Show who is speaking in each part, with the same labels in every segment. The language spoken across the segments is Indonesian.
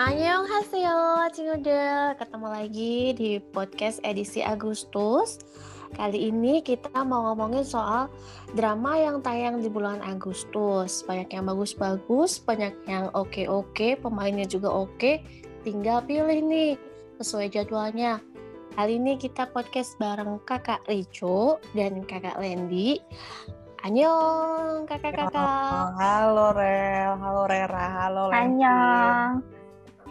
Speaker 1: Annyeonghaseyo, Cinudel. Ketemu lagi di podcast edisi Agustus. Kali ini kita mau ngomongin soal drama yang tayang di bulan Agustus. Banyak yang bagus-bagus, banyak yang oke-oke, pemainnya juga oke. Tinggal pilih nih sesuai jadwalnya. Kali ini kita podcast bareng Kakak Rico dan Kakak Lendi. Annyeong, kakak-kakak.
Speaker 2: Halo, Oh, halo Rel, halo Rera, halo Lendi.
Speaker 3: Annyeong.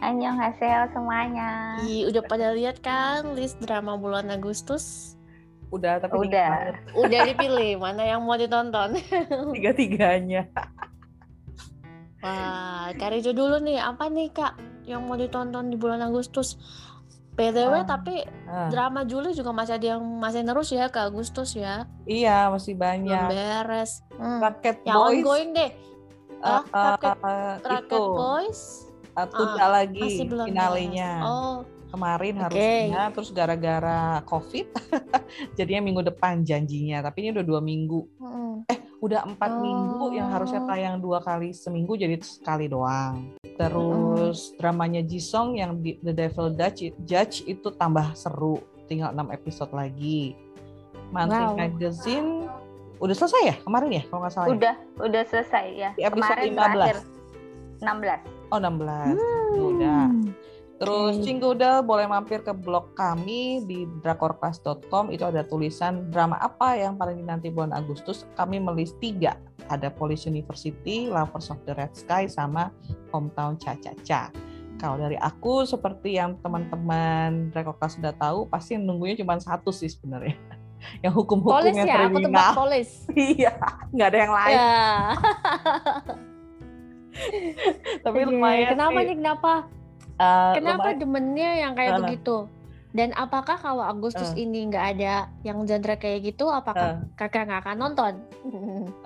Speaker 3: Annyeong hasil semuanya.
Speaker 1: Ih, udah pada lihat kan list drama bulan Agustus?
Speaker 2: Udah tapi
Speaker 3: Udah.
Speaker 2: dikit banget.
Speaker 1: Udah dipilih mana yang mau ditonton.
Speaker 2: tiga-tiganya.
Speaker 1: Wah, Kak Rijo dulu nih, apa nih Kak yang mau ditonton di bulan Agustus? PTW
Speaker 2: Ah.
Speaker 1: tapi
Speaker 2: Ah,
Speaker 1: drama Juli juga masih ada yang masih terus ya ke Agustus ya.
Speaker 2: iya, masih
Speaker 1: Belum
Speaker 2: banyak.
Speaker 1: beres. Hmm.
Speaker 2: Raket
Speaker 1: Yang
Speaker 2: Boys
Speaker 1: ongoing deh,
Speaker 2: eh,
Speaker 1: ah, Raket-
Speaker 2: eh,
Speaker 1: Racket
Speaker 2: itu
Speaker 1: Boys Ah,
Speaker 2: eh, tunda lagi
Speaker 1: masih belum
Speaker 2: finalnya.
Speaker 1: beres. Oh,
Speaker 2: Kemarin
Speaker 1: Oke.
Speaker 2: harusnya terus gara-gara Covid jadinya minggu depan janjinya, tapi ini udah dua minggu.
Speaker 1: mm-mm.
Speaker 2: Eh, Udah empat
Speaker 1: Oh.
Speaker 2: minggu yang harusnya tayang dua kali seminggu jadi sekali doang.
Speaker 1: Oh.
Speaker 2: Terus dramanya Jisung yang di- The Devil Judge, Judge itu tambah seru, tinggal 6 episode lagi. Monthly
Speaker 1: Wow.
Speaker 2: Magazine udah selesai ya kemarin ya kalau nggak salah. ya?
Speaker 3: Udah, udah selesai ya.
Speaker 2: Di episode
Speaker 3: Kemarin
Speaker 2: 15.
Speaker 3: terakhir 16.
Speaker 2: Oh 16.
Speaker 1: Hmm.
Speaker 2: Itu Udah. Terus
Speaker 1: Oke.
Speaker 2: Cinggodel boleh mampir ke blog kami di drakorclass.com itu ada tulisan drama apa yang paling dinanti bulan Agustus kami melis tiga ada Police University, Lovers of the Red Sky sama Hometown Cha Cha Cha. Kalau dari aku seperti yang teman-teman Drakorclass sudah tahu pasti nunggunya cuma satu sih sebenarnya yang hukum-hukum
Speaker 1: Polis
Speaker 2: yang
Speaker 1: ya, aku tebak
Speaker 2: kriminal.
Speaker 1: polis.
Speaker 2: Iya, nggak ada yang lain.
Speaker 1: Ya.
Speaker 2: Tapi
Speaker 1: Iya,
Speaker 2: lumayan
Speaker 1: Kenapa
Speaker 2: sih.
Speaker 1: nih kenapa?
Speaker 2: Eh,
Speaker 1: Kenapa
Speaker 2: lumayan-
Speaker 1: demennya yang
Speaker 2: Ah.
Speaker 1: kayak begitu? Dan apakah kalau Agustus ini nggak ada yang genre kayak gitu, apakah kakak nggak akan nonton?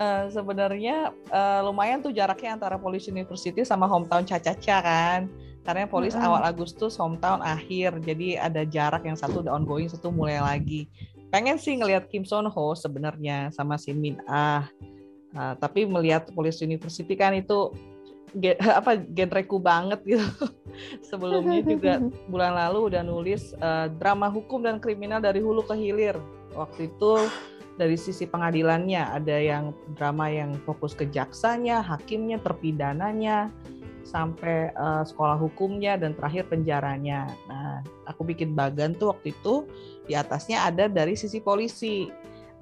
Speaker 2: Eh, sebenarnya eh, lumayan tuh jaraknya antara Police University sama hometown Cacaca kan. Karena Police
Speaker 1: Mm-mm.
Speaker 2: awal Agustus, hometown akhir. Jadi ada jarak yang satu udah ongoing, satu mulai lagi. Pengen sih ngelihat Kim Son Ho sebenarnya sama si Min Ah. Eh, tapi melihat Police University kan itu ge- apa genreku banget gitu. Sebelumnya juga bulan lalu udah nulis eh, drama hukum dan kriminal dari hulu ke hilir. Waktu itu dari sisi pengadilannya ada yang drama yang fokus ke jaksanya, hakimnya, terpidananya, sampai eh, sekolah hukumnya dan terakhir penjaranya. Nah, aku bikin bagan tuh waktu itu di atasnya ada dari sisi polisi.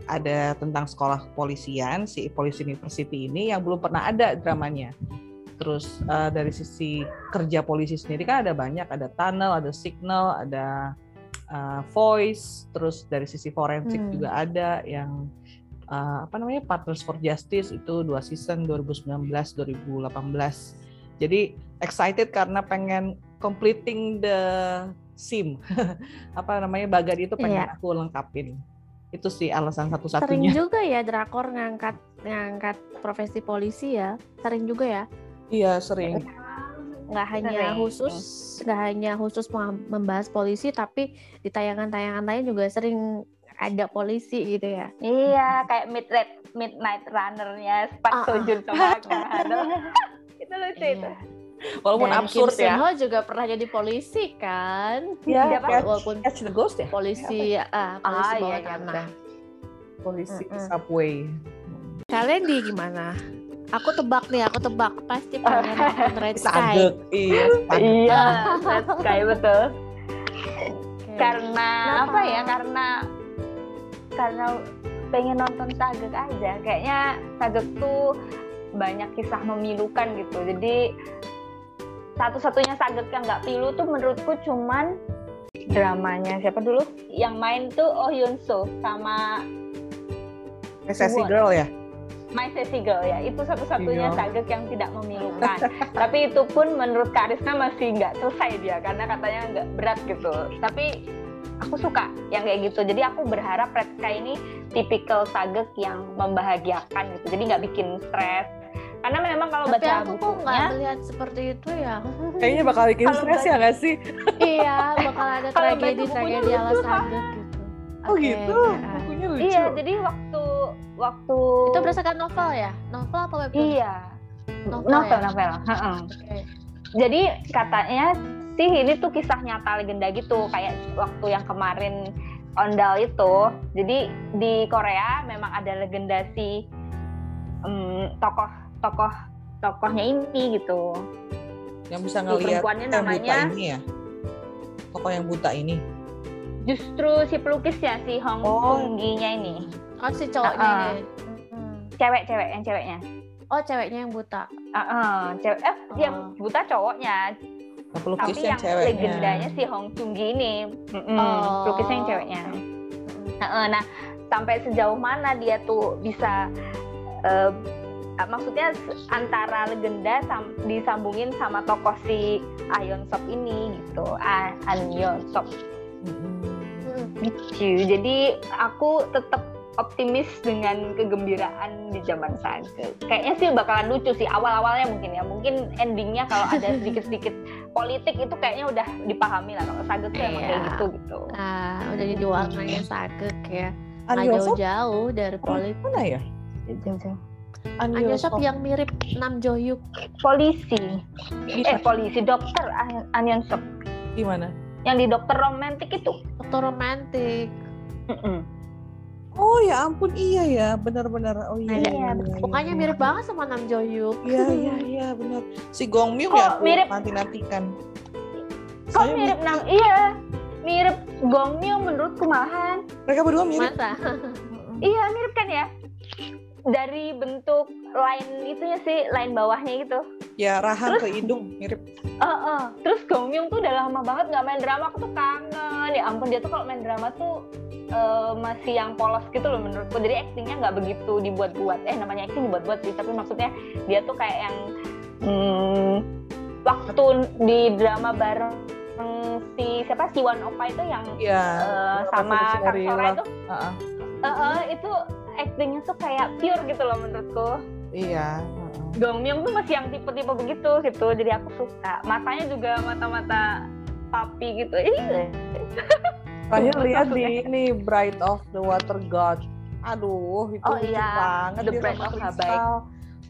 Speaker 2: Ada tentang sekolah kepolisian, si Polisi University ini yang belum pernah ada dramanya. Terus eh, dari sisi kerja polisi sendiri kan ada banyak, ada tunnel, ada signal, ada eh, voice, terus dari sisi forensik
Speaker 1: Hmm.
Speaker 2: juga ada yang eh, apa namanya Partners for Justice itu dua season 2019-2018. Jadi excited karena pengen completing the sim apa namanya bagan itu pengen
Speaker 3: Iya.
Speaker 2: aku lengkapin. Itu sih alasan
Speaker 1: Sering
Speaker 2: satu-satunya.
Speaker 1: juga ya drakor ngangkat ngangkat profesi polisi ya, sering juga ya.
Speaker 2: Iya sering.
Speaker 1: Nggak hanya
Speaker 3: Sering.
Speaker 1: khusus, nggak hanya khusus meng- membahas polisi, tapi di tayangan-tayangan lain juga sering ada polisi gitu ya.
Speaker 3: Iya, kayak midnight midnight runner-nya
Speaker 1: Ah,
Speaker 3: Park Seo Joon sama Kang Hana. Itu lucu itu.
Speaker 1: Iya.
Speaker 2: Walaupun
Speaker 1: Dan Kim
Speaker 2: absurd ya.
Speaker 1: Sun Ho juga pernah jadi polisi kan,
Speaker 2: Ya,
Speaker 3: Siapa?
Speaker 2: catch,
Speaker 1: Walaupun-
Speaker 2: catch the ghost ya.
Speaker 1: polisi ah, polisi
Speaker 3: Ah,
Speaker 1: bawah
Speaker 3: iya, iya,
Speaker 1: tanah.
Speaker 2: polisi
Speaker 1: Mm-mm.
Speaker 2: subway.
Speaker 1: Kalian di gimana? Aku tebak nih, aku tebak pasti pengen nonton Red Sky.
Speaker 2: Sadek, iya. sadek.
Speaker 3: Iya, that's kayak betul.
Speaker 1: Oke.
Speaker 3: Karena
Speaker 1: Kenapa?
Speaker 3: apa ya? Karena karena pengen nonton Sagek aja. Kayaknya Sagek tuh banyak kisah memilukan gitu. Jadi satu-satunya Sagek yang nggak pilu tuh menurutku cuman dramanya siapa dulu? Yang main tuh Oh Yoon Soo sama
Speaker 2: Sassy girl ya.
Speaker 3: My Sassy Girl ya itu satu-satunya
Speaker 2: Iya.
Speaker 3: sagek yang tidak memilukan tapi itu pun menurut Karisna masih nggak selesai dia karena katanya nggak berat gitu tapi aku suka yang kayak gitu jadi aku berharap Red Sky ini tipikal sagek yang membahagiakan gitu jadi nggak bikin stres karena memang kalau
Speaker 1: Tapi
Speaker 3: baca
Speaker 1: aku kok nggak
Speaker 3: bukunya
Speaker 1: melihat seperti itu ya.
Speaker 2: Kayaknya bakal bikin
Speaker 3: Kalau
Speaker 2: stres
Speaker 3: baca-
Speaker 2: ya nggak sih?
Speaker 1: iya, bakal ada
Speaker 3: Kalau baca
Speaker 1: tragedi
Speaker 3: bukunya
Speaker 1: tragedi
Speaker 3: lucu,
Speaker 1: ala
Speaker 3: Kak.
Speaker 1: Sagek gitu.
Speaker 2: Oh
Speaker 1: Oke,
Speaker 2: gitu.
Speaker 1: ya.
Speaker 2: Bukunya lucu.
Speaker 3: iya jadi waktu waktu
Speaker 1: Itu berdasarkan novel ya? Novel apa webtoon?
Speaker 3: iya
Speaker 1: Novel.
Speaker 3: novel
Speaker 1: ya?
Speaker 3: novel Ha-ha.
Speaker 1: Oke.
Speaker 3: jadi katanya sih ini tuh kisah nyata legenda gitu kayak waktu yang kemarin ondal itu jadi di Korea memang ada legenda si em, tokoh tokoh tokohnya ini gitu
Speaker 2: yang bisa
Speaker 3: Si
Speaker 2: ngelihat
Speaker 3: perempuannya
Speaker 2: yang buta
Speaker 3: namanya-
Speaker 2: ini ya toko yang buta ini
Speaker 3: justru si pelukisnya si Hong
Speaker 2: Oh.
Speaker 3: Kong Gi-nya ini
Speaker 1: Oh si cowoknya
Speaker 3: Ah, ah.
Speaker 1: ini. Hmm.
Speaker 3: cewek-cewek yang ceweknya
Speaker 1: Oh ceweknya yang buta.
Speaker 3: Ah, ah, cewek eh yang buta cowoknya
Speaker 2: Nah, pelukis yang,
Speaker 3: tapi yang
Speaker 2: ceweknya
Speaker 3: legendanya si Hong Chung Gi ini Mm-mm,
Speaker 1: Oh.
Speaker 3: pelukisnya yang ceweknya nah, eh, nah, sampai sejauh mana dia tuh bisa eh, eh, maksudnya se- antara legenda sam- disambungin sama tokoh si Ayon Sop ini gitu ah Ayon Sop
Speaker 2: Mm-mm.
Speaker 1: Hmm.
Speaker 3: gitu jadi aku tetap optimis dengan kegembiraan di zaman saat kayaknya sih bakalan lucu sih awal-awalnya mungkin ya mungkin endingnya kalau ada sedikit-sedikit politik itu kayaknya udah dipahami lah kalau Sage tuh emang kayak
Speaker 1: Iya.
Speaker 3: gitu gitu
Speaker 1: Ah, udah jadi warnanya sagek ya.
Speaker 2: An
Speaker 1: Nggak
Speaker 2: Yosop
Speaker 1: jauh-jauh dari politik.
Speaker 2: mana ya An
Speaker 1: An Yosop
Speaker 2: Yosop.
Speaker 3: ya.
Speaker 1: yang mirip Nam Jo Hyuk.
Speaker 3: polisi
Speaker 2: Di-
Speaker 3: eh polisi dokter Ah- Anion Sop
Speaker 2: di mana
Speaker 3: yang di dokter romantik itu
Speaker 1: Foto romantik.
Speaker 2: oh ya ampun iya ya benar-benar oh iya
Speaker 1: Ada.
Speaker 2: iya, iya,
Speaker 1: Mukanya
Speaker 2: iya.
Speaker 1: mirip banget sama Nam Jo Hyuk.
Speaker 2: iya iya iya benar si Gong Myung
Speaker 3: Kok
Speaker 2: ya aku
Speaker 3: mirip?
Speaker 2: nanti-nantikan
Speaker 3: kok
Speaker 2: Saya
Speaker 3: mirip
Speaker 2: mikir,
Speaker 3: nam iya mirip Gongmyo menurutku malahan
Speaker 2: mereka berdua mirip
Speaker 1: Masa?
Speaker 3: iya mirip kan ya dari bentuk lain itunya sih lain bawahnya gitu
Speaker 2: ya rahang
Speaker 3: Terus?
Speaker 2: ke hidung mirip
Speaker 3: Eh, eh. terus Gong Myung tuh udah lama banget nggak main drama, aku tuh kangen. Ya ampun dia tuh kalau main drama tuh eh, masih yang polos gitu loh menurutku. Jadi aktingnya nggak begitu dibuat-buat. Eh namanya acting dibuat-buat sih, tapi maksudnya dia tuh kayak yang hmm, waktu di drama bareng si siapa si Wan Opa itu yang
Speaker 2: ya
Speaker 3: eh,
Speaker 2: beberapa
Speaker 3: sama
Speaker 2: versi
Speaker 3: Kang
Speaker 2: dari
Speaker 3: Sora
Speaker 2: Love-
Speaker 3: itu,
Speaker 2: Ah, ah.
Speaker 3: eh, eh, itu aktingnya tuh kayak pure gitu loh menurutku.
Speaker 2: iya ah, ah.
Speaker 3: Gong Myung tuh masih yang tipe-tipe begitu gitu, jadi aku suka. Matanya juga mata-mata papi gitu. Ih,
Speaker 2: Terakhir lihat di ini Bride of the Water God. Aduh, itu
Speaker 3: Oh,
Speaker 2: lucu
Speaker 3: iya.
Speaker 2: banget
Speaker 3: The
Speaker 2: dia
Speaker 3: Bride
Speaker 2: sama
Speaker 3: of
Speaker 2: Crystal.
Speaker 3: Habaik.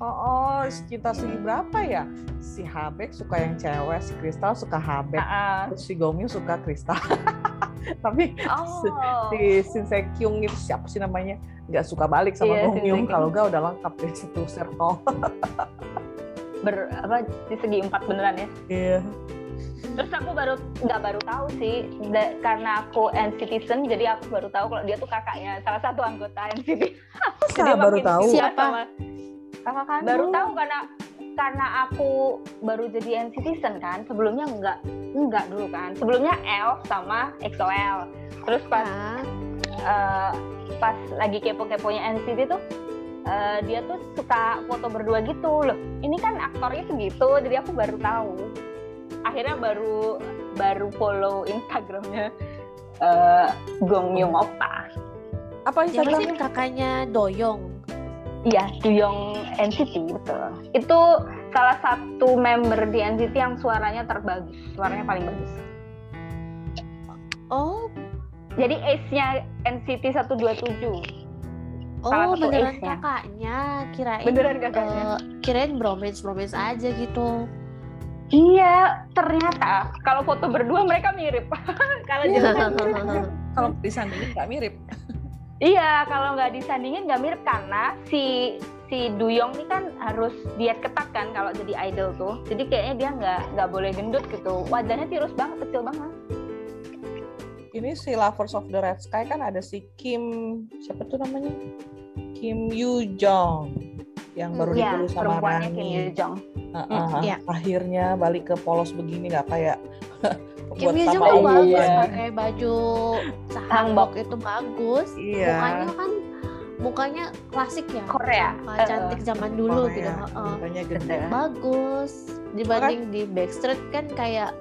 Speaker 2: Oh, oh, cinta segi berapa ya? Si Habek suka yang cewek, si Kristal suka Habek,
Speaker 3: ah,
Speaker 2: terus si Gomyu suka Kristal. Tapi
Speaker 3: ah. Oh.
Speaker 2: si Shin Se Kyung itu siapa sih namanya? Nggak suka balik sama
Speaker 3: Iya, Shin Se
Speaker 2: Gomyu
Speaker 3: Kyung.
Speaker 2: kalau nggak udah lengkap di situ circle.
Speaker 3: Ber, apa di segi empat beneran ya.
Speaker 2: Iya.
Speaker 3: Terus aku baru nggak baru tahu sih da- karena aku NCTzen jadi aku baru tahu kalau dia tuh kakaknya salah satu anggota NCT. Jadi
Speaker 2: Masa baru
Speaker 3: makin
Speaker 2: tahu?
Speaker 3: suka
Speaker 1: Siapa?
Speaker 3: sama-
Speaker 2: Kakak kandung.
Speaker 3: Baru tahu karena karena aku baru jadi NCTzen kan. Sebelumnya nggak nggak dulu kan. Sebelumnya L sama XOL. Terus pas
Speaker 1: Ah,
Speaker 3: eh, pas lagi kepo-keponya NCT tuh eh, dia tuh suka foto berdua gitu loh ini kan aktornya segitu jadi aku baru tahu akhirnya baru baru follow Instagramnya eh Gong Yoo Opa
Speaker 2: Apa
Speaker 1: siapa sih
Speaker 2: Instagramnya?
Speaker 1: kakaknya Doyong?
Speaker 3: iya Duyong NCT betul itu salah satu member di NCT yang suaranya terbagus suaranya paling bagus
Speaker 1: Oh,
Speaker 3: jadi ace-nya NCT 127 Salah
Speaker 1: oh
Speaker 3: satu
Speaker 1: beneran
Speaker 3: ace-nya.
Speaker 1: kakaknya kirain
Speaker 3: beneran kakaknya
Speaker 1: eh, kirain bromance bromance aja gitu.
Speaker 3: Iya, ternyata kalau foto berdua mereka mirip. kalau
Speaker 1: Iya.
Speaker 3: jadi
Speaker 2: Kalau disandingin nggak mirip.
Speaker 3: iya, kalau nggak disandingin nggak mirip karena si si Duyong ini kan harus diet ketat kan kalau jadi idol tuh. Jadi kayaknya dia nggak nggak boleh gendut gitu. Wajahnya tirus banget, kecil banget.
Speaker 2: ini si Lovers of the Red Sky kan ada si Kim siapa tuh namanya Kim Yoo Jong yang
Speaker 1: Hmm,
Speaker 2: baru
Speaker 3: Iya,
Speaker 2: dipilih sama
Speaker 3: perempuannya Kim Yoo
Speaker 2: Rani
Speaker 3: Jong.
Speaker 2: Ah, ah, ah.
Speaker 1: Iya.
Speaker 2: akhirnya balik ke polos begini nggak kayak
Speaker 1: Kim
Speaker 2: buat
Speaker 1: Hee Jung
Speaker 2: sama
Speaker 1: tuh
Speaker 3: Iya.
Speaker 2: Owi
Speaker 1: bagus
Speaker 2: ya.
Speaker 1: pakai baju
Speaker 3: Hanbok.
Speaker 1: hanbok itu bagus.
Speaker 2: iya
Speaker 1: Mukanya kan mukanya klasik ya.
Speaker 3: Korea. Eh,
Speaker 1: Muka cantik zaman dulu gitu. Heeh.
Speaker 2: mukanya gede
Speaker 3: Bener.
Speaker 1: Bagus dibanding di Backstreet kan kayak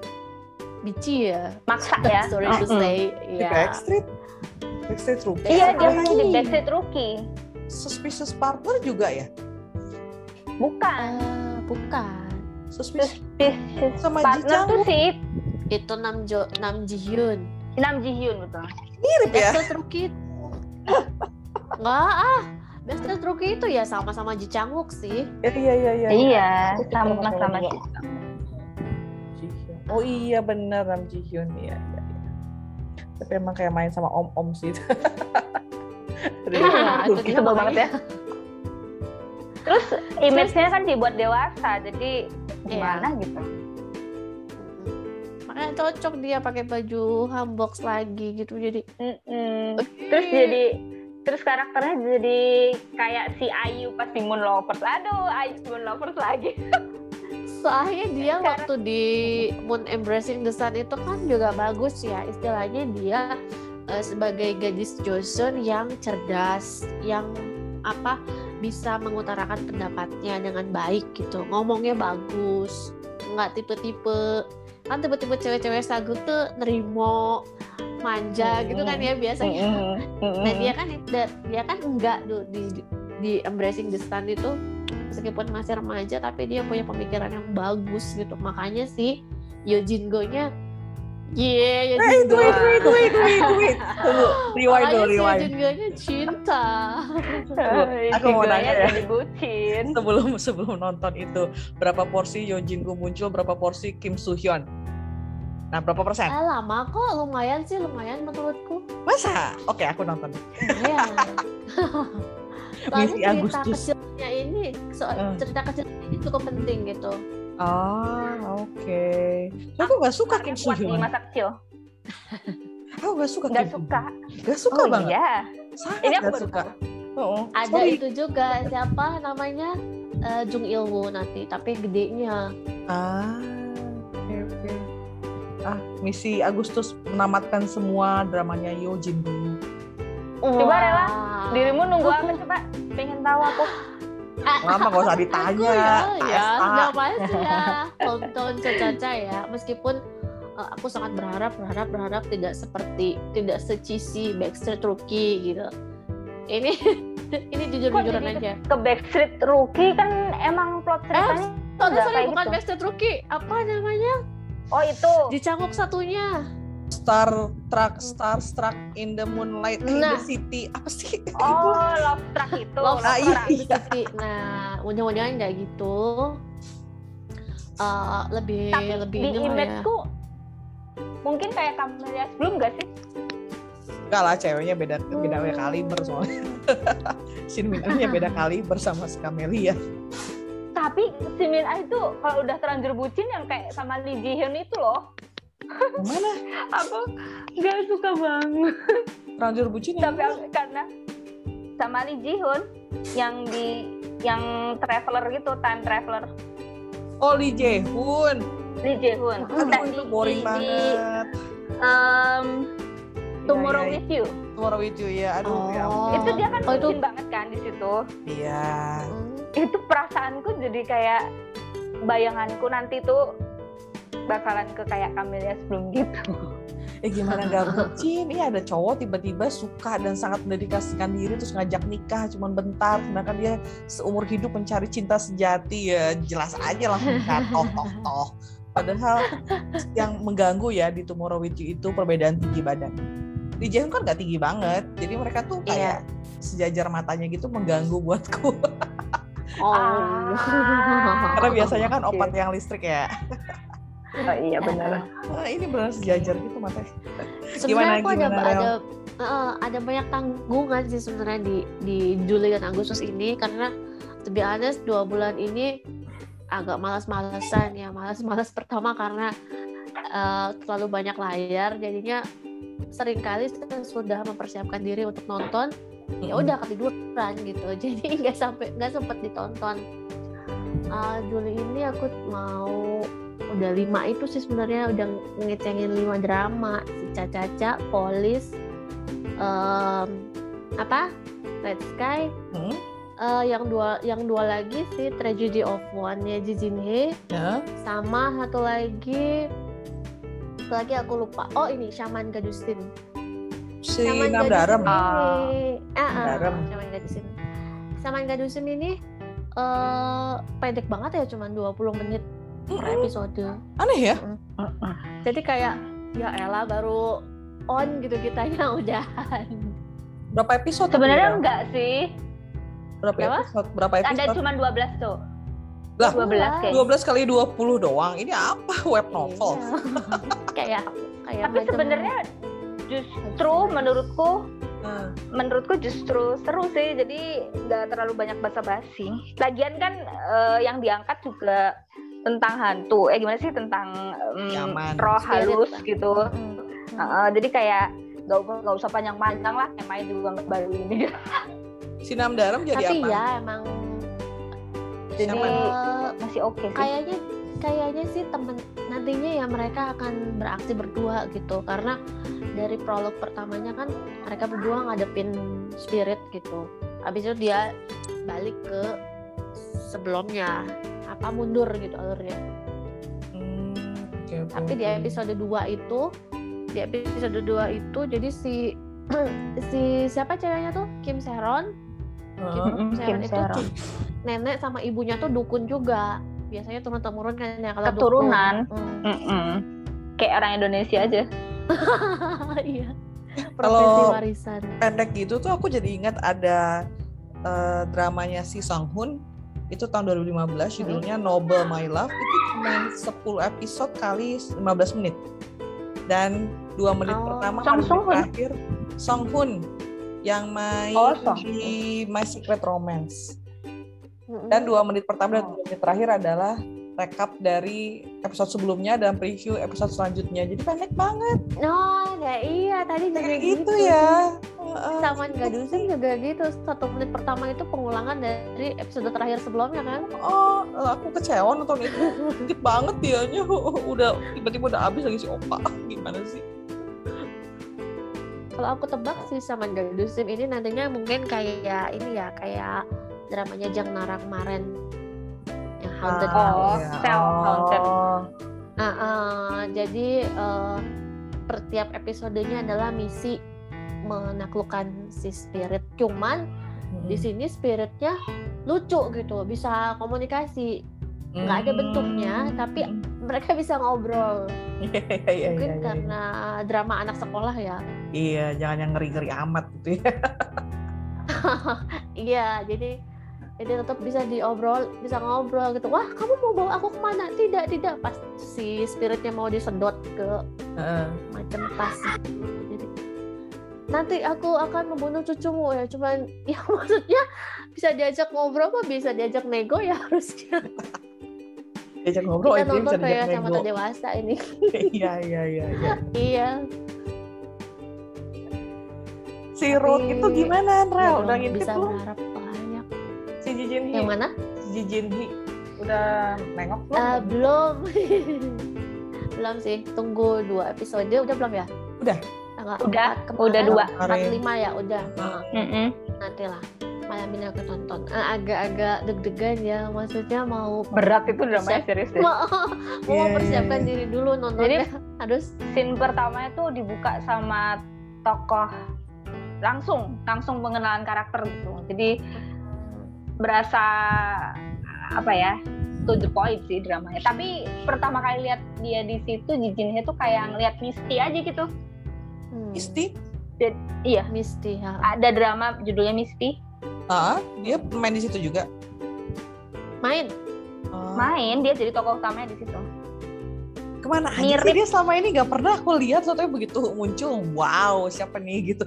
Speaker 1: bici ya.
Speaker 3: Maksa ya.
Speaker 1: Sorry to
Speaker 3: Mm-mm.
Speaker 1: say.
Speaker 2: di
Speaker 1: Iya.
Speaker 2: Backstreet Backstreet Rookie
Speaker 3: Iya, dia
Speaker 2: Apalagi
Speaker 3: kan di Backstreet Rookie.
Speaker 2: Suspicious Partner juga ya
Speaker 3: Bukan.
Speaker 1: Eh, bukan.
Speaker 2: Suspicious
Speaker 3: This
Speaker 2: Sama
Speaker 3: partner
Speaker 2: Ji-Chang.
Speaker 3: tuh si
Speaker 1: Itu Nam Jo Nam Ji Hyun.
Speaker 3: Nam Ji Hyun betul.
Speaker 2: mirip ya
Speaker 1: Backstreet Rookie. Enggak ah. Backstreet Rookie itu ya sama-sama Ji Chang Wook sih.
Speaker 2: iya iya iya
Speaker 3: Iya,
Speaker 2: Aku tuh pernah
Speaker 3: sama-sama
Speaker 2: nonton
Speaker 3: sih.
Speaker 2: Oh iya bener Ram Ji Hyun ya. ya, ya. Tapi emang kayak main sama om-om sih. Aduh,
Speaker 3: Ah,
Speaker 1: Iya, itu dia
Speaker 2: gokil
Speaker 1: makanya.
Speaker 2: banget ya.
Speaker 3: Terus image-nya kan dibuat dewasa, jadi gimana gitu.
Speaker 1: Makanya cocok dia pakai baju hanbox lagi gitu jadi.
Speaker 3: Mm-mm. Terus jadi terus karakternya jadi kayak si Ayu pas di Moon Lovers. Aduh, Ayu Moon Lovers lagi.
Speaker 1: Soalnya dia
Speaker 3: Sekarang-
Speaker 1: waktu di Moon Embracing the Sun itu kan juga bagus ya istilahnya dia eh, sebagai gadis Joseon yang cerdas, yang apa bisa mengutarakan pendapatnya dengan baik gitu, ngomongnya bagus, nggak tipe-tipe kan tipe-tipe cewek-cewek sagu tuh nerimo manja gitu kan ya biasanya.
Speaker 2: Mm-mm, mm-mm.
Speaker 1: Nah dia kan da- dia kan enggak tuh di di embracing the sun itu meskipun masih remaja tapi dia punya pemikiran yang bagus gitu makanya si Yojin Go-nya Ye, Yojin
Speaker 2: Eh, Wait,
Speaker 1: Go.
Speaker 2: wait, wait, wait, wait, wait. Tunggu, rewind
Speaker 1: Makanya
Speaker 2: dulu,
Speaker 1: si
Speaker 2: rewind.
Speaker 1: Yojin Go-nya cinta.
Speaker 2: aku mau
Speaker 3: Figurnya
Speaker 2: nanya ya.
Speaker 3: jadi bucin.
Speaker 2: Sebelum sebelum nonton itu, berapa porsi Yojin Gu muncul, berapa porsi Kim Soo Hyun? Nah, berapa persen?
Speaker 1: Eh, lama kok lumayan sih lumayan menurutku.
Speaker 2: Masa? Oke, aku nonton.
Speaker 1: Iya. Soalnya
Speaker 2: Misi
Speaker 1: cerita
Speaker 2: Agustus.
Speaker 1: kecilnya ini soal
Speaker 2: Eh.
Speaker 1: cerita kecilnya ini cukup penting gitu.
Speaker 2: Oh, oke. Aku gak suka Kim
Speaker 3: Karena
Speaker 2: Soo
Speaker 3: kuat di
Speaker 2: Hyun.
Speaker 3: masa kecil.
Speaker 2: Aku gak suka
Speaker 3: Nggak
Speaker 2: Kim Soo
Speaker 3: suka.
Speaker 2: Hyun. Gak suka
Speaker 3: oh
Speaker 2: banget.
Speaker 3: iya.
Speaker 2: Sangat
Speaker 3: Ini aku
Speaker 2: gak
Speaker 3: baru
Speaker 2: suka.
Speaker 3: tahu.
Speaker 2: Oh,
Speaker 1: Ada
Speaker 2: sorry.
Speaker 1: itu juga siapa namanya Eh, Jung Ilwoo nanti tapi gedenya.
Speaker 2: Ah, oke oke. Ah, misi Agustus menamatkan semua dramanya Yojin dulu.
Speaker 1: Coba
Speaker 3: Rela, Dirimu nunggu apa coba? Pengen tahu aku.
Speaker 2: Lama gak usah
Speaker 1: Aku
Speaker 2: ditanya.
Speaker 1: ya,
Speaker 2: tak
Speaker 1: ya
Speaker 2: esa.
Speaker 1: nggak pasti ya tonton caca ya meskipun eh, aku sangat berharap berharap berharap tidak seperti tidak secisi Backstreet Rookie gitu. Ini ini jujur-jujuran
Speaker 3: jadi
Speaker 1: aja.
Speaker 3: Ke Backstreet Rookie kan emang plot ceritanya.
Speaker 1: Tonton
Speaker 3: Nggak
Speaker 1: sorry
Speaker 3: kayak
Speaker 1: bukan
Speaker 3: gitu.
Speaker 1: Backstreet Rookie apa namanya
Speaker 3: Oh itu.
Speaker 1: dicangkok satunya.
Speaker 2: Star Trek, Star Struck in the Moonlight in the
Speaker 1: Nah.
Speaker 2: City. Apa sih?
Speaker 3: Oh Love Struck itu.
Speaker 1: Love
Speaker 2: Ah,
Speaker 3: Struck.
Speaker 2: iya, iya.
Speaker 1: Tapi, nah mudah-mudahan nggak gitu. Eh, lebih
Speaker 3: Tapi
Speaker 1: lebih
Speaker 3: di
Speaker 1: ini lah ya.
Speaker 3: imageku mungkin kayak Camelia sebelum gak sih?
Speaker 2: Enggak lah, ceweknya beda beda
Speaker 3: Oh.
Speaker 2: kaliber soalnya. Shin Min Ahnya beda kaliber sama si Camelia.
Speaker 3: Tapi si Min Ah itu kalau udah terlanjur bucin yang kayak sama Lee Ji Hyun itu loh.
Speaker 2: Mana?
Speaker 3: Aku gak suka banget.
Speaker 2: Ranjur bucin ya? yang
Speaker 3: Tapi aku- karena sama Lee Ji Hyun yang di yang traveler gitu, time traveler
Speaker 2: Oh, Lee Jae Hoon.
Speaker 3: Lee Ji Hyun.
Speaker 2: Aduh, itu boring banget.
Speaker 3: um,
Speaker 2: Iya,
Speaker 3: Tomorrow
Speaker 2: iya.
Speaker 3: with You.
Speaker 2: Tomorrow with you ya. Aduh, ya ampun.
Speaker 1: Oh.
Speaker 3: Itu dia kan
Speaker 1: Oh, itu-
Speaker 3: bucin banget kan di situ.
Speaker 2: Iya.
Speaker 3: itu perasaanku jadi kayak bayanganku nanti tuh bakalan ke kayak Camelia sebelum gitu.
Speaker 2: eh gimana gak bucin ini ada cowok tiba-tiba suka dan sangat mendedikasikan diri terus ngajak nikah cuman bentar sedangkan dia seumur hidup mencari cinta sejati ya jelas aja lah toh toh toh padahal yang mengganggu ya di Tomorrow With You itu perbedaan tinggi badan di Jaehyun kan gak tinggi banget jadi mereka tuh kayak sejajar matanya gitu mengganggu buatku
Speaker 1: Oh.
Speaker 3: Ah.
Speaker 2: karena biasanya kan opat yang listrik ya
Speaker 3: Oh iya benar.
Speaker 2: Nah, ini benar sejajar gitu matanya
Speaker 1: Eh, Sebenarnya
Speaker 2: Gimana,
Speaker 1: aku ada
Speaker 2: gimana, Rel?
Speaker 1: ada eh, ada banyak tanggungan sih sebenarnya di di Juli dan Agustus ini karena to be honest dua bulan ini agak malas-malasan ya malas-malas pertama karena eh, terlalu banyak layar jadinya seringkali saya sudah mempersiapkan diri untuk nonton ya udah ketiduran gitu jadi nggak sampai nggak sempet ditonton Ah, Juli ini aku mau udah lima itu sih sebenarnya udah ngecengin lima drama si Caca-Caca, Polis, em, apa Red Sky,
Speaker 2: Hmm?
Speaker 1: eh, yang dua yang dua lagi si Tragedy of One nya Ji Jin Hee,
Speaker 2: Ya.
Speaker 1: sama satu lagi satu lagi aku lupa oh ini Shaman Gadusin
Speaker 2: si
Speaker 1: Shaman
Speaker 2: Nam Darem
Speaker 1: Gadusin
Speaker 3: Ah.
Speaker 1: ini-
Speaker 2: Oh.
Speaker 1: ah, ah,
Speaker 2: Darem.
Speaker 1: Shaman Gadusin. Shaman Gadusin ini eh, pendek banget ya cuman 20 menit per
Speaker 2: Mm-mm.
Speaker 1: episode.
Speaker 2: Hmm, aneh ya
Speaker 1: Jadi kayak ya Ella baru on gitu kitanya udahan.
Speaker 2: berapa episode tapi
Speaker 3: Sebenarnya
Speaker 2: ya?
Speaker 3: enggak sih.
Speaker 2: berapa
Speaker 1: Berapa?
Speaker 2: episode berapa
Speaker 3: Ada
Speaker 2: episode
Speaker 3: cuma 12 tuh.
Speaker 2: Lah,
Speaker 3: 12 kayaknya.
Speaker 2: 12 kali 20 doang. Ini apa web novel?
Speaker 1: ya. Iya. kayak kayak
Speaker 3: tapi
Speaker 1: baca
Speaker 3: sebenarnya justru menurutku
Speaker 1: Ah.
Speaker 2: Hmm.
Speaker 3: menurutku justru seru sih jadi nggak terlalu banyak basa-basi lagian kan eh, yang diangkat juga tentang hantu eh gimana sih tentang em,
Speaker 2: Kiamat.
Speaker 3: roh
Speaker 1: Spirit.
Speaker 3: halus gitu
Speaker 1: Mm, mm.
Speaker 3: Heeh, jadi kayak nggak usah nggak usah panjang-panjang lah temanya juga nggak baru ini
Speaker 2: Sinam Daram jadi
Speaker 1: tapi
Speaker 2: apa?
Speaker 1: ya emang
Speaker 3: jadi
Speaker 2: Siapa?
Speaker 1: eh,
Speaker 3: masih oke sih
Speaker 1: kayaknya kayaknya sih temen nantinya ya mereka akan beraksi berdua gitu karena dari prolog pertamanya kan mereka berdua ngadepin spirit gitu habis itu dia balik ke sebelumnya apa mundur gitu alurnya
Speaker 2: Hmm, oke, oke,
Speaker 1: tapi di
Speaker 2: oke.
Speaker 1: episode 2 itu di episode 2 itu jadi si si siapa ceweknya tuh Kim Seron
Speaker 2: Heeh.
Speaker 1: Seron
Speaker 3: Kim
Speaker 1: itu
Speaker 3: Seron.
Speaker 1: tuh nenek sama ibunya tuh dukun juga biasanya turun temurun kan ya kalau dukun.
Speaker 3: Keturunan.
Speaker 1: Hmm.
Speaker 3: Mm-mm. kayak orang Indonesia aja
Speaker 1: iya profesi
Speaker 2: Kalau-
Speaker 1: warisan
Speaker 2: Pendek gitu tuh aku jadi ingat ada eh, dramanya si Sang Hoon itu tahun 2015 judulnya Noble My Love itu cuma 10 episode kali 15 menit dan dua menit
Speaker 1: Oh.
Speaker 2: pertama
Speaker 3: Song
Speaker 2: menit
Speaker 3: Sung Hoon.
Speaker 2: terakhir Song Hoon yang main
Speaker 3: Oh, Song
Speaker 2: di My Secret Romance
Speaker 1: Mm-mm.
Speaker 2: dan dua menit pertama dan dua menit terakhir adalah rekap dari episode sebelumnya dan preview episode selanjutnya jadi pendek banget
Speaker 1: no ya iya tadi juga
Speaker 2: kayak
Speaker 1: gitu,
Speaker 2: gitu ya Heeh.
Speaker 1: Taman Gadusin juga gitu satu menit pertama itu pengulangan dari episode terakhir sebelumnya kan
Speaker 2: oh aku kecewa nonton itu sedikit banget dianya udah tiba-tiba udah habis lagi si opa gimana sih
Speaker 1: kalau aku tebak sih sama Gadusin ini nantinya mungkin kayak ini ya kayak dramanya Jang Nara kemarin yang haunted
Speaker 2: Ah,
Speaker 1: house
Speaker 2: iya.
Speaker 3: Self haunted.
Speaker 2: Oh.
Speaker 1: Nah, eh, jadi eh, per tiap episodenya adalah misi menaklukkan si spirit. Cuman di sini spiritnya lucu gitu, bisa komunikasi.
Speaker 2: Hmm.
Speaker 1: nggak ada bentuknya, tapi- Mereka bisa ngobrol.
Speaker 2: Iya, iya, iya,
Speaker 1: Mungkin
Speaker 2: iya, iya.
Speaker 1: karena drama anak sekolah ya.
Speaker 2: iya jangan yang ngeri-ngeri amat gitu ya
Speaker 1: Iya, jadi jadi tetap bisa diobrol, bisa ngobrol gitu. Wah, kamu mau bawa aku kemana? Tidak, tidak. Pas si spiritnya mau disedot ke
Speaker 2: Heeh.
Speaker 1: macam tas Jadi, nanti aku akan membunuh cucumu ya cuman ya maksudnya bisa diajak ngobrol apa bisa diajak nego ya harusnya
Speaker 2: diajak ngobrol
Speaker 1: kita
Speaker 2: itu bisa
Speaker 1: nonton kayak
Speaker 2: diajak
Speaker 1: sama
Speaker 2: nego
Speaker 1: dewasa ini
Speaker 2: iya iya iya iya.
Speaker 1: iya Tapi-
Speaker 2: si Ruth itu gimana Kan, Rel
Speaker 1: belum
Speaker 2: udah ngintip Iya.
Speaker 1: bisa
Speaker 2: belum
Speaker 1: berharap banyak
Speaker 2: si Jijin Hi
Speaker 1: yang mana
Speaker 2: si Jijin Hi udah nengok
Speaker 1: Eh,
Speaker 2: belum
Speaker 1: belum belum sih tunggu dua episode udah belum ya
Speaker 2: Udah.
Speaker 1: Tanggal
Speaker 3: Udah,
Speaker 1: empat kemarin,
Speaker 3: udah dua.
Speaker 1: empat lima ya udah
Speaker 3: Mm-mm.
Speaker 1: nanti lah malam ini aku tonton Eh, agak-agak deg-degan ya maksudnya mau
Speaker 3: berat itu dramanya serius deh
Speaker 1: mau mau
Speaker 2: Iya,
Speaker 1: mempersiapkan
Speaker 2: iya,
Speaker 1: diri dulu nontonnya harus
Speaker 3: scene pertamanya tuh dibuka sama tokoh langsung langsung pengenalan karakter gitu jadi berasa apa ya to the point sih dramanya tapi pertama kali lihat dia di situ jijinnya tuh kayak ngeliat Misty aja gitu
Speaker 1: hmm,
Speaker 2: Isti
Speaker 3: iya
Speaker 1: Misty ya.
Speaker 3: ada drama judulnya Misty
Speaker 2: ah dia main di situ juga
Speaker 1: main
Speaker 2: Ah.
Speaker 3: main dia jadi tokoh utamanya di situ
Speaker 2: kemana aja
Speaker 3: Mirip.
Speaker 2: sih dia selama ini nggak pernah aku lihat soalnya begitu muncul wow siapa nih gitu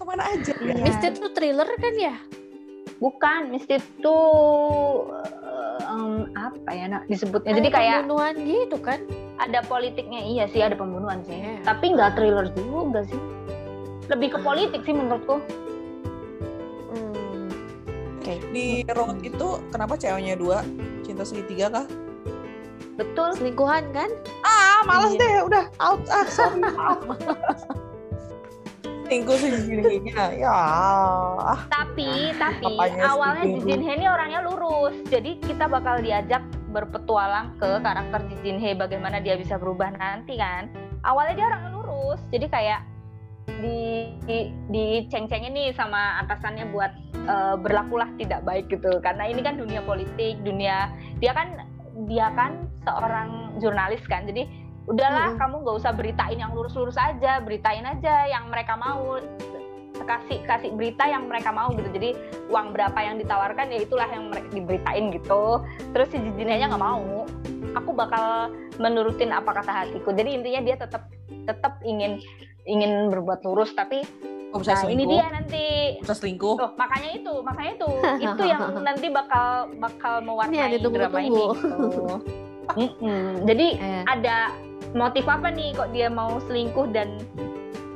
Speaker 2: kemana aja ya
Speaker 3: Iya.
Speaker 1: Misty itu thriller kan ya
Speaker 3: bukan Misty itu eh, em, apa ya nak disebutnya jadi
Speaker 1: Ada
Speaker 3: kayak
Speaker 1: pembunuhan gitu kan
Speaker 3: ada politiknya iya sih ada pembunuhan sih
Speaker 1: Iya.
Speaker 3: tapi nggak thriller juga sih lebih ke politik sih menurutku
Speaker 1: hmm.
Speaker 2: di road itu kenapa ceweknya dua cinta segitiga kah
Speaker 3: betul
Speaker 1: selingkuhan kan
Speaker 2: ah malas
Speaker 1: Iya.
Speaker 2: deh udah out ah sorry out Tinggu sih giginya ya ah
Speaker 3: tapi tapi
Speaker 2: Apanya sih,
Speaker 3: awalnya
Speaker 2: Jin?
Speaker 3: Jijin He ini orangnya lurus jadi kita bakal diajak berpetualang ke karakter Jijin He bagaimana dia bisa berubah nanti kan awalnya dia orangnya lurus jadi kayak di di, diceng-cengin nih sama atasannya buat eh, berlakulah tidak baik gitu karena ini kan dunia politik dunia dia kan dia kan seorang jurnalis kan jadi udahlah
Speaker 1: Mm-mm.
Speaker 3: kamu nggak usah beritain yang lurus-lurus aja beritain aja yang mereka mau kasih kasih berita yang mereka mau gitu jadi uang berapa yang ditawarkan ya itulah yang mereka diberitain gitu terus si jinjinanya nggak mau aku bakal menurutin apa kata hatiku jadi intinya dia tetap tetap ingin ingin berbuat lurus tapi
Speaker 2: Oh, bisa
Speaker 3: nah,
Speaker 2: selingkuh.
Speaker 3: ini dia nanti
Speaker 2: Bisa selingkuh.
Speaker 3: Tuh, makanya itu, makanya itu, itu yang nanti bakal bakal mewarnai
Speaker 1: Ini yang
Speaker 3: drama ini.
Speaker 1: ditunggu-tunggu.
Speaker 3: gitu. Mm-mm. Jadi
Speaker 1: Eh,
Speaker 3: ada motif apa nih kok dia mau selingkuh dan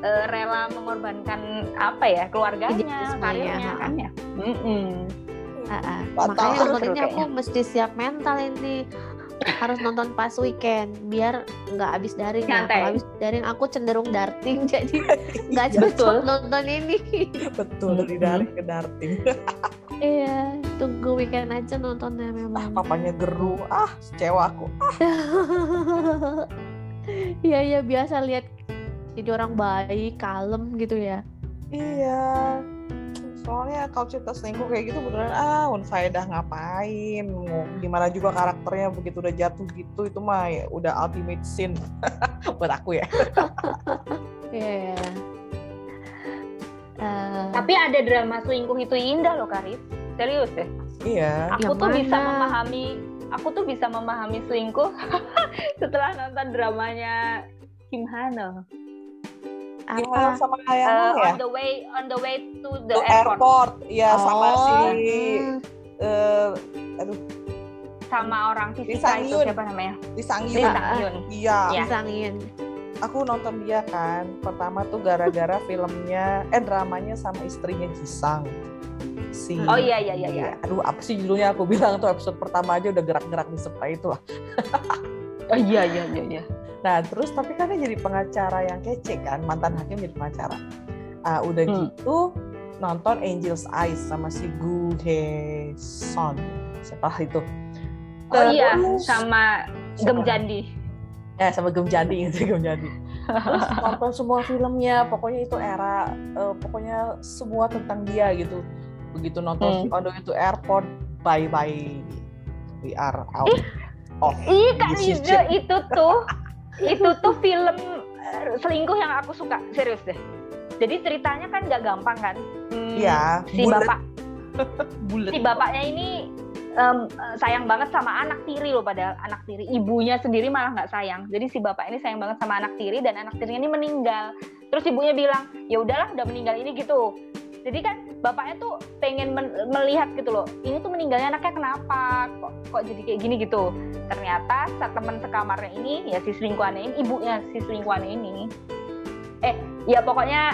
Speaker 3: eh, rela mengorbankan apa ya keluarganya,
Speaker 1: Idealismenya,
Speaker 3: karirnya
Speaker 1: ha.
Speaker 3: kan ya? Mm-mm.
Speaker 1: ah, ah.
Speaker 2: Batal.
Speaker 1: Makanya
Speaker 3: Seru-seru
Speaker 1: nontonnya aku
Speaker 3: kayaknya.
Speaker 1: mesti siap mental ini harus nonton pas weekend biar nggak habis daring ya.
Speaker 3: Nyantai.
Speaker 1: Kalau habis daring aku cenderung darting jadi nggak
Speaker 3: Betul.
Speaker 1: cocok nonton ini.
Speaker 2: Iya. Betul dari
Speaker 3: Mm-mm.
Speaker 2: daring ke darting.
Speaker 1: Iya, tunggu weekend aja nontonnya memang.
Speaker 2: ah, papanya geru. Ah, kecewa aku.
Speaker 1: Iya iya biasa lihat jadi orang baik, kalem gitu ya.
Speaker 2: Iya. Soalnya kalau cerita selingkuh kayak gitu beneran ah unfaedah ngapain. Mau Gimana juga karakternya begitu udah jatuh gitu itu mah ya udah ultimate sin buat aku ya.
Speaker 1: Iya. Eh,
Speaker 3: Tapi ada drama selingkuh itu indah loh Karis, serius deh.
Speaker 2: Iya.
Speaker 3: Aku
Speaker 1: Yang
Speaker 3: tuh bisa
Speaker 1: mana?
Speaker 3: memahami, aku tuh bisa memahami selingkuh setelah nonton dramanya Kim Hano.
Speaker 1: apa?
Speaker 2: Gimana Iya, sama kayak
Speaker 3: Uh,
Speaker 2: ya?
Speaker 3: Ah, on the way on the way to the
Speaker 2: Tuh,
Speaker 3: airport,
Speaker 2: airport. Iya sama
Speaker 3: Oh.
Speaker 2: si
Speaker 1: Hmm,
Speaker 2: eh
Speaker 3: sama orang
Speaker 2: Lee
Speaker 3: Sisika
Speaker 2: Sang
Speaker 3: itu
Speaker 2: Yoon.
Speaker 3: siapa namanya?
Speaker 2: di Sangyun.
Speaker 3: Lee Sang
Speaker 1: ah.
Speaker 3: Yoon.
Speaker 2: Iya,
Speaker 3: Ya.
Speaker 1: Disangin.
Speaker 2: aku nonton dia kan. Pertama tuh gara-gara filmnya, eh dramanya sama istrinya Jisang. Si
Speaker 1: Oh,
Speaker 3: Oh iya iya iya iya.
Speaker 2: Aduh, apa sih judulnya aku bilang tuh episode pertama aja udah gerak-gerak di spray itu lah.
Speaker 3: Oh iya iya iya iya.
Speaker 2: Nah, terus tapi kan dia jadi pengacara yang kece kan, mantan hakim jadi pengacara. Ah, udah
Speaker 3: Hmm.
Speaker 2: gitu nonton Angel's Eyes sama si Gu He Son. Siapa itu?
Speaker 3: Oh iya
Speaker 2: Terus-
Speaker 3: sama Gem Jandi.
Speaker 2: eh sama Gem Jadi gitu Gem Jadi terus nonton semua filmnya pokoknya itu era eh, pokoknya semua tentang dia gitu begitu nonton
Speaker 3: Hmm.
Speaker 2: on the way to airport bye bye we are out Oh, off
Speaker 3: Ih Kak
Speaker 2: This is
Speaker 3: Riza itu tuh itu tuh film eh, selingkuh yang aku suka serius deh. Jadi ceritanya kan nggak gampang kan? Hmm,
Speaker 2: ya
Speaker 3: Si
Speaker 2: bulat,
Speaker 3: bapak
Speaker 2: bulat.
Speaker 3: si bapaknya ini em, eh, sayang banget sama anak tiri loh padahal anak tiri ibunya sendiri malah nggak sayang jadi si bapak ini sayang banget sama anak tiri dan anak tirinya ini meninggal terus ibunya bilang ya udahlah udah meninggal ini gitu jadi kan bapaknya tuh pengen men- melihat gitu loh ini tuh meninggalnya anaknya kenapa kok, kok jadi kayak gini gitu ternyata sa- teman sekamarnya ini ya si selingkuhannya ini ibunya si selingkuhannya ini eh ya pokoknya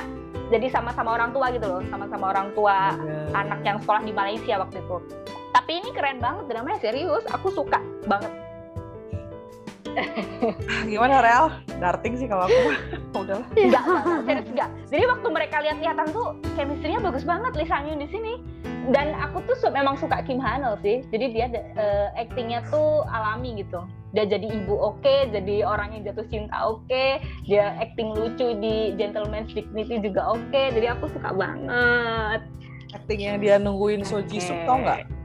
Speaker 3: jadi sama-sama orang tua gitu loh sama-sama orang
Speaker 2: Iya.
Speaker 3: tua anak yang sekolah di Malaysia waktu itu. Tapi ini keren banget dramanya serius, aku suka banget.
Speaker 2: gimana Rel darting sih kalau aku Oh, udah
Speaker 3: Enggak, enggak, enggak, serius enggak. Jadi waktu mereka lihat-lihatan tuh chemistry-nya bagus banget Lee Sang Yoon di sini. Dan aku tuh su- memang suka Kim Hanel sih. Jadi dia eh, acting-nya tuh alami gitu. Dia jadi ibu oke, jadi orang yang jatuh cinta oke, dia acting lucu di Gentleman's Dignity juga oke. Jadi aku suka banget.
Speaker 2: acting yang dia nungguin Soji Sub tau nggak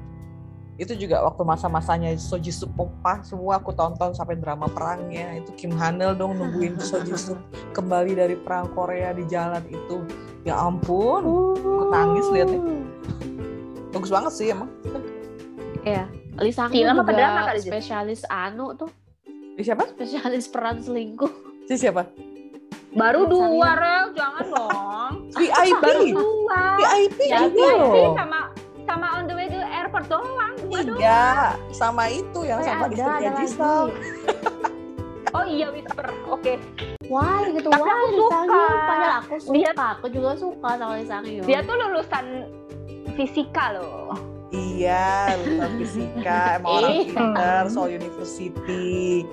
Speaker 2: itu juga waktu masa-masanya Soji Sub pompa semua aku tonton sampai drama perangnya itu Kim Hanel dong nungguin Soji Sub kembali dari perang Korea di jalan itu ya ampun
Speaker 1: Aku
Speaker 2: nangis liatnya.
Speaker 1: Uh.
Speaker 2: bagus banget sih emang
Speaker 1: Iya. Lisang
Speaker 3: Film apa
Speaker 1: juga
Speaker 3: drama, Kak Liz?
Speaker 1: spesialis anu tuh,
Speaker 2: si siapa
Speaker 1: spesialis peran selingkuh.
Speaker 2: si siapa
Speaker 3: Baru
Speaker 1: Sang Yoon.
Speaker 3: dua, Rel, jangan dong.
Speaker 2: VIP
Speaker 3: Baru dua.
Speaker 2: VIP
Speaker 3: Ya,
Speaker 2: juga
Speaker 3: VIP
Speaker 2: Iya loh
Speaker 3: sama sama on the way to airport doang. Dua doang.
Speaker 2: tiga sama itu yang
Speaker 1: Eh,
Speaker 2: sama
Speaker 1: ada,
Speaker 2: istrinya
Speaker 1: ada lagi.
Speaker 2: Jisang
Speaker 3: Oh iya whisper. Oke.
Speaker 1: Why gitu?
Speaker 3: Tapi
Speaker 1: Why
Speaker 3: aku
Speaker 1: Lee Sang Yoon?
Speaker 3: suka.
Speaker 1: Padahal aku suka. Iya,
Speaker 3: Dia-
Speaker 1: Aku juga suka sama Lisang Yoon.
Speaker 3: Dia tuh lulusan fisika loh.
Speaker 2: iya lulusan fisika emang orang
Speaker 1: Ih.
Speaker 2: pinter soal university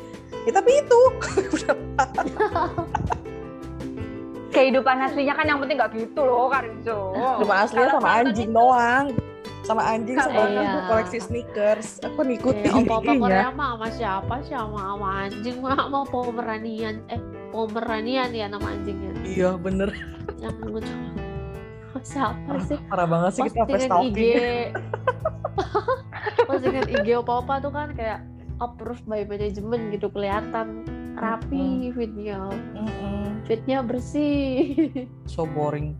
Speaker 2: ya tapi itu udah
Speaker 3: Kehidupan aslinya kan yang penting nggak gitu loh Karinzo.
Speaker 2: Cuma aslinya sama
Speaker 3: Kalau gitu, nonton
Speaker 2: anjing
Speaker 3: itu-
Speaker 2: doang. Sama anjing
Speaker 3: Sama-
Speaker 2: sama
Speaker 1: Iya.
Speaker 2: aku koleksi sneakers. Aku ngikutin
Speaker 1: Iya, opa-opa
Speaker 2: ininya.
Speaker 1: Korea mah sama siapa sih sama, sama anjing mah sama Pomeranian eh Pomeranian ya nama anjingnya
Speaker 2: Iya, bener.
Speaker 1: yang lucu siapa sih
Speaker 2: Parah banget sih kita sampai
Speaker 1: postingan IG
Speaker 2: stalking.
Speaker 1: postingan IG opa-opa tuh kan kayak approved by management gitu kelihatan
Speaker 2: Hmm.
Speaker 1: rapi fitnya
Speaker 2: Mm-mm.
Speaker 1: fitnya bersih
Speaker 2: So boring.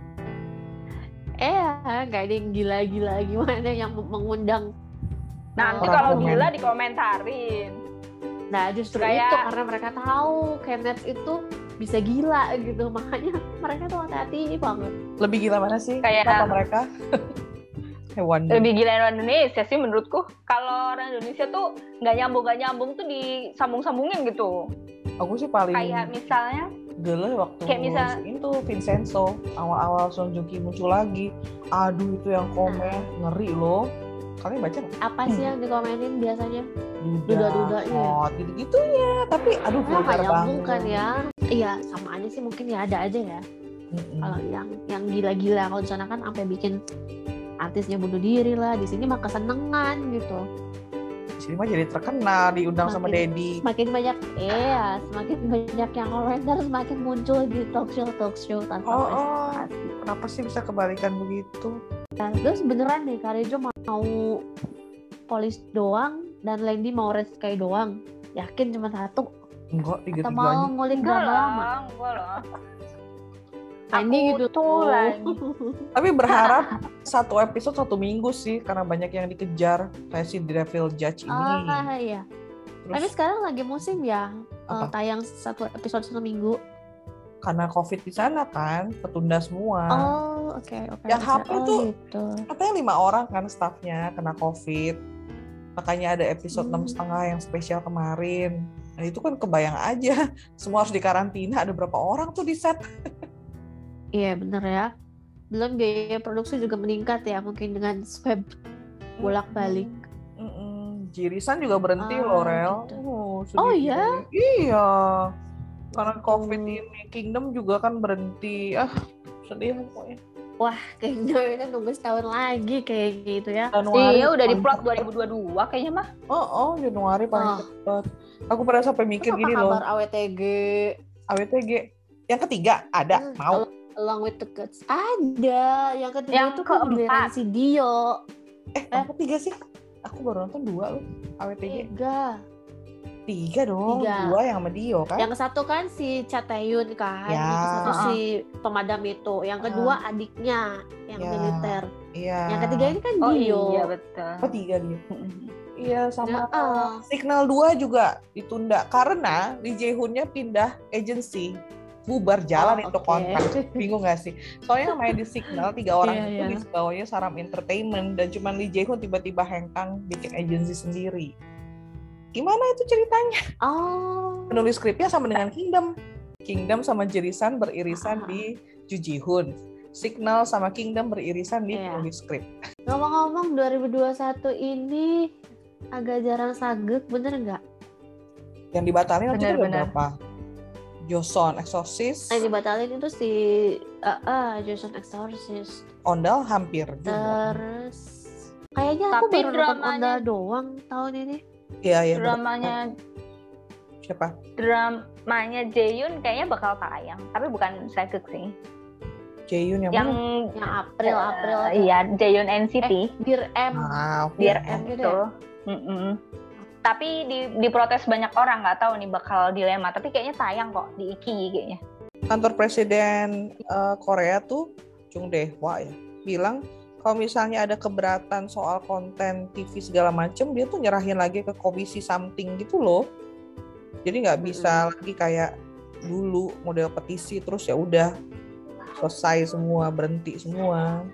Speaker 1: eh nggak ada yang gila-gila gimana yang mengundang
Speaker 3: Nah,
Speaker 1: Oh, ya.
Speaker 3: Nanti
Speaker 2: Orang
Speaker 3: kalau
Speaker 2: komen.
Speaker 3: gila dikomentarin.
Speaker 1: nah justru
Speaker 3: Kayak-
Speaker 1: itu karena mereka tahu Kenneth itu bisa gila gitu makanya mereka tuh hati-hati banget
Speaker 2: Lebih gila mana sih?
Speaker 3: Kayak-
Speaker 2: Kenapa mereka? Hewan.
Speaker 3: Lebih gila orang Indonesia sih menurutku. Kalau orang Indonesia tuh nggak nyambung nggak nyambung tuh disambung-sambungin gitu.
Speaker 2: Aku sih paling
Speaker 3: Kayak misalnya
Speaker 2: gele waktu
Speaker 3: Kayak misal-
Speaker 2: itu Vincenzo awal-awal Son Joong Ki muncul lagi. Aduh itu yang komen ngeri loh. Kalian baca nggak?
Speaker 1: apa sih
Speaker 3: Hmm.
Speaker 1: yang dikomenin biasanya Duda-dudanya.
Speaker 2: hot, gitu-gitu ya. iya. Tapi aduh
Speaker 1: Nah,
Speaker 2: vulgar
Speaker 1: nggak nyambung
Speaker 2: banget.
Speaker 1: kan ya iya sama aja sih mungkin ya ada aja ya
Speaker 2: Mm-mm.
Speaker 1: kalau yang yang gila-gila kalau di sana kan sampai bikin artisnya bunuh diri lah di sini mah kesenengan gitu
Speaker 2: Di sini mah jadi terkenal diundang sama
Speaker 1: Makin-
Speaker 2: Dedi.
Speaker 1: semakin banyak iya semakin banyak yang komentar semakin muncul di talk show talk show tanpa
Speaker 2: Oh, oh.
Speaker 1: presentasi.
Speaker 2: Kenapa sih bisa kebalikan begitu?
Speaker 1: Nah, terus beneran nih Karijo mau polis doang dan Lendi mau red sky doang yakin cuma satu
Speaker 2: Enggak, tiga
Speaker 1: atau
Speaker 2: tiganya.
Speaker 1: mau ngulik
Speaker 3: enggak
Speaker 1: drama lama
Speaker 3: lah, enggak lah.
Speaker 1: Lendi
Speaker 3: Aku
Speaker 1: gitu
Speaker 3: tuh lah.
Speaker 2: Tapi berharap satu episode satu minggu sih karena banyak yang dikejar kayak si Devil Judge ini.
Speaker 1: ah iya
Speaker 2: Terus
Speaker 1: tapi sekarang lagi musim ya eh,
Speaker 2: Apa?
Speaker 1: tayang satu episode satu minggu
Speaker 2: karena COVID di sana kan ketunda semua.
Speaker 1: oh oke oke
Speaker 2: Yang
Speaker 1: oke.
Speaker 2: hapus
Speaker 1: Oh,
Speaker 2: tuh.
Speaker 1: gitu.
Speaker 2: Katanya lima orang kan stafnya kena COVID. Makanya ada episode enam
Speaker 1: Hmm.
Speaker 2: setengah yang spesial kemarin. Nah itu kan kebayang aja semua harus dikarantina ada berapa orang tuh di set.
Speaker 1: Iya bener ya. Belum biaya produksi juga meningkat ya mungkin dengan swab bolak-balik.
Speaker 2: Mm-mm. Jirisan juga
Speaker 1: Ah,
Speaker 2: berhenti loh Rel.
Speaker 1: gitu. Oh,
Speaker 2: Oh, sedih
Speaker 1: iya? Oh.
Speaker 2: juga. Iya. Karena COVID ini Kingdom juga kan berhenti. Ah sedih pokoknya.
Speaker 1: Iya, Kayaknya ini gitu, nunggu setahun lagi kayak gitu ya.
Speaker 2: Januari
Speaker 3: Iya, udah di
Speaker 2: paling
Speaker 3: plot
Speaker 2: cepet.
Speaker 3: 2022 kayaknya mah.
Speaker 2: Oh, oh Januari paling
Speaker 1: Oh.
Speaker 2: cepet. Aku pernah sampai mikir
Speaker 1: Terus apa
Speaker 2: gini loh.
Speaker 1: kabar AWTG?
Speaker 2: AWTG yang ketiga ada
Speaker 1: Hmm,
Speaker 2: mau
Speaker 1: al- Along with the Gods. Ada. Yang ketiga
Speaker 3: Yang
Speaker 1: itu kan
Speaker 3: keempat.
Speaker 1: giliran si Dio.
Speaker 2: eh yang ketiga sih aku baru nonton dua loh AWTG
Speaker 1: Tiga.
Speaker 2: tiga
Speaker 1: Iya.
Speaker 2: dong
Speaker 1: Tiga.
Speaker 2: dua yang sama Dio kan
Speaker 1: Yang satu kan si Chateyun kan.
Speaker 2: Ya.
Speaker 1: Yang satu
Speaker 3: Uh-uh.
Speaker 1: si pemadam itu. Yang kedua adiknya yang
Speaker 2: Ya.
Speaker 1: militer.
Speaker 2: iya
Speaker 1: Yang ketiga ini kan
Speaker 3: Oh
Speaker 1: Dio.
Speaker 3: iya betul.
Speaker 2: apa tiga Dio iya sama
Speaker 1: Nah,
Speaker 2: Signal 2 juga ditunda karena Lee Jae-hoon-nya pindah agensi bubar jalan
Speaker 1: Oh,
Speaker 2: itu
Speaker 1: oke.
Speaker 2: kontrak bingung gak sih soalnya yang main di Signal tiga orang
Speaker 1: Iya,
Speaker 2: itu
Speaker 1: iya.
Speaker 2: di bawahnya Saram Entertainment dan cuman Lee Jae-hoon tiba-tiba hengkang bikin agensi sendiri gimana itu ceritanya
Speaker 1: Oh.
Speaker 2: penulis skripnya sama dengan Kingdom Kingdom sama Jirisan
Speaker 1: Ah.
Speaker 2: beririsan di Ju Ji-hoon Signal sama Kingdom beririsan di
Speaker 1: Iya.
Speaker 2: penulis skrip
Speaker 1: Ngomong-ngomong 2021 ini agak jarang sagek, bener nggak?
Speaker 2: yang dibatalin waktu itu ada
Speaker 3: Benar-benar.
Speaker 2: berapa Joseon Exorcist
Speaker 1: Yang dibatalin itu si eh eh, Jason Exorcist.
Speaker 2: Ondal hampir juga
Speaker 1: Terus kayaknya aku
Speaker 3: Tapi
Speaker 1: baru nonton
Speaker 3: dramanya-
Speaker 1: Ondal doang tahun ini.
Speaker 2: Iya, iya. betul.
Speaker 3: Dramanya
Speaker 2: siapa?
Speaker 3: dramanya Jaehyun kayaknya bakal tayang, tapi bukan Sagek sih.
Speaker 2: Jaehyun yang,
Speaker 3: Yang
Speaker 2: mana?
Speaker 1: Yang April
Speaker 3: eh,
Speaker 1: April.
Speaker 3: iya, Jaehyun NCT.
Speaker 1: Dear M.
Speaker 2: Ah, oke.
Speaker 3: biar
Speaker 1: Iya, gitu
Speaker 3: gitu. Mm-mm. Tapi di diprotes banyak orang nggak tahu nih bakal dilema. Tapi kayaknya tayang kok di Iki kayaknya.
Speaker 2: kantor presiden eh, Korea tuh Jung Dae-hwa ya bilang kalau misalnya ada keberatan soal konten TV segala macem dia tuh nyerahin lagi ke komisi something gitu loh jadi nggak bisa lagi kayak dulu model petisi terus ya udah selesai semua berhenti semua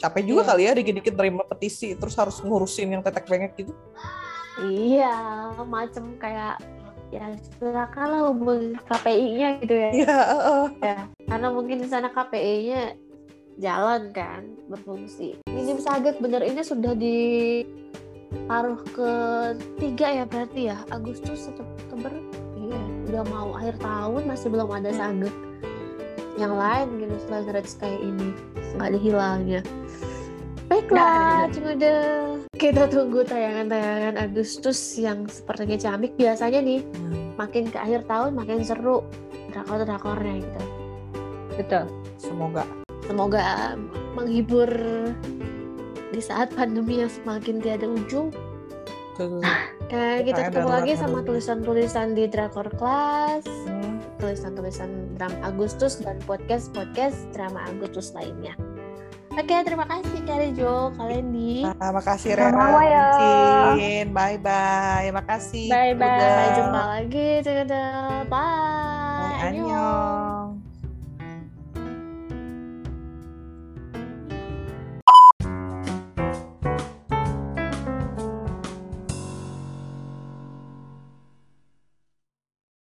Speaker 2: capek juga
Speaker 1: Iya.
Speaker 2: kali ya dikit-dikit terima petisi terus harus ngurusin yang tetek bengek gitu
Speaker 1: Iya, macem kayak ya silakanlah hubungi KPI-nya gitu ya.
Speaker 2: iya heeh.
Speaker 1: karena mungkin di sana KPI-nya jalan kan berfungsi. Minim Sagek bener ini sudah di paruh ketiga ya berarti ya Agustus atau Oktober iya udah mau akhir tahun masih belum ada Sagek yang lain gitu selain Red Sky ini nggak ada hilangnya
Speaker 3: Nggak
Speaker 1: baiklah
Speaker 3: ada.
Speaker 1: cuma deh kita tunggu tayangan-tayangan Agustus yang sepertinya camik biasanya nih makin ke akhir tahun makin seru drakor-drakornya gitu
Speaker 3: Betul.
Speaker 2: semoga
Speaker 1: semoga menghibur di saat pandemi yang semakin tiada ujung.
Speaker 2: Tuh.
Speaker 1: Nah, kita
Speaker 2: Kita
Speaker 1: ketemu
Speaker 2: darurat
Speaker 1: lagi sama
Speaker 2: dulu.
Speaker 1: tulisan-tulisan di Drakor Class,
Speaker 2: Hmm.
Speaker 1: tulisan-tulisan drama Agustus dan podcast-podcast drama Agustus lainnya. Oke, terima kasih Kak Jo, kalian di.
Speaker 2: Nah, makasih
Speaker 3: Sama-sama
Speaker 2: Rera,
Speaker 3: ya.
Speaker 2: Cin. Bye-bye. Makasih.
Speaker 1: Bye bye,
Speaker 2: Udah.
Speaker 1: jumpa lagi. Dadah. Bye.
Speaker 2: Bye,
Speaker 1: Annyeong.
Speaker 2: Annyeong.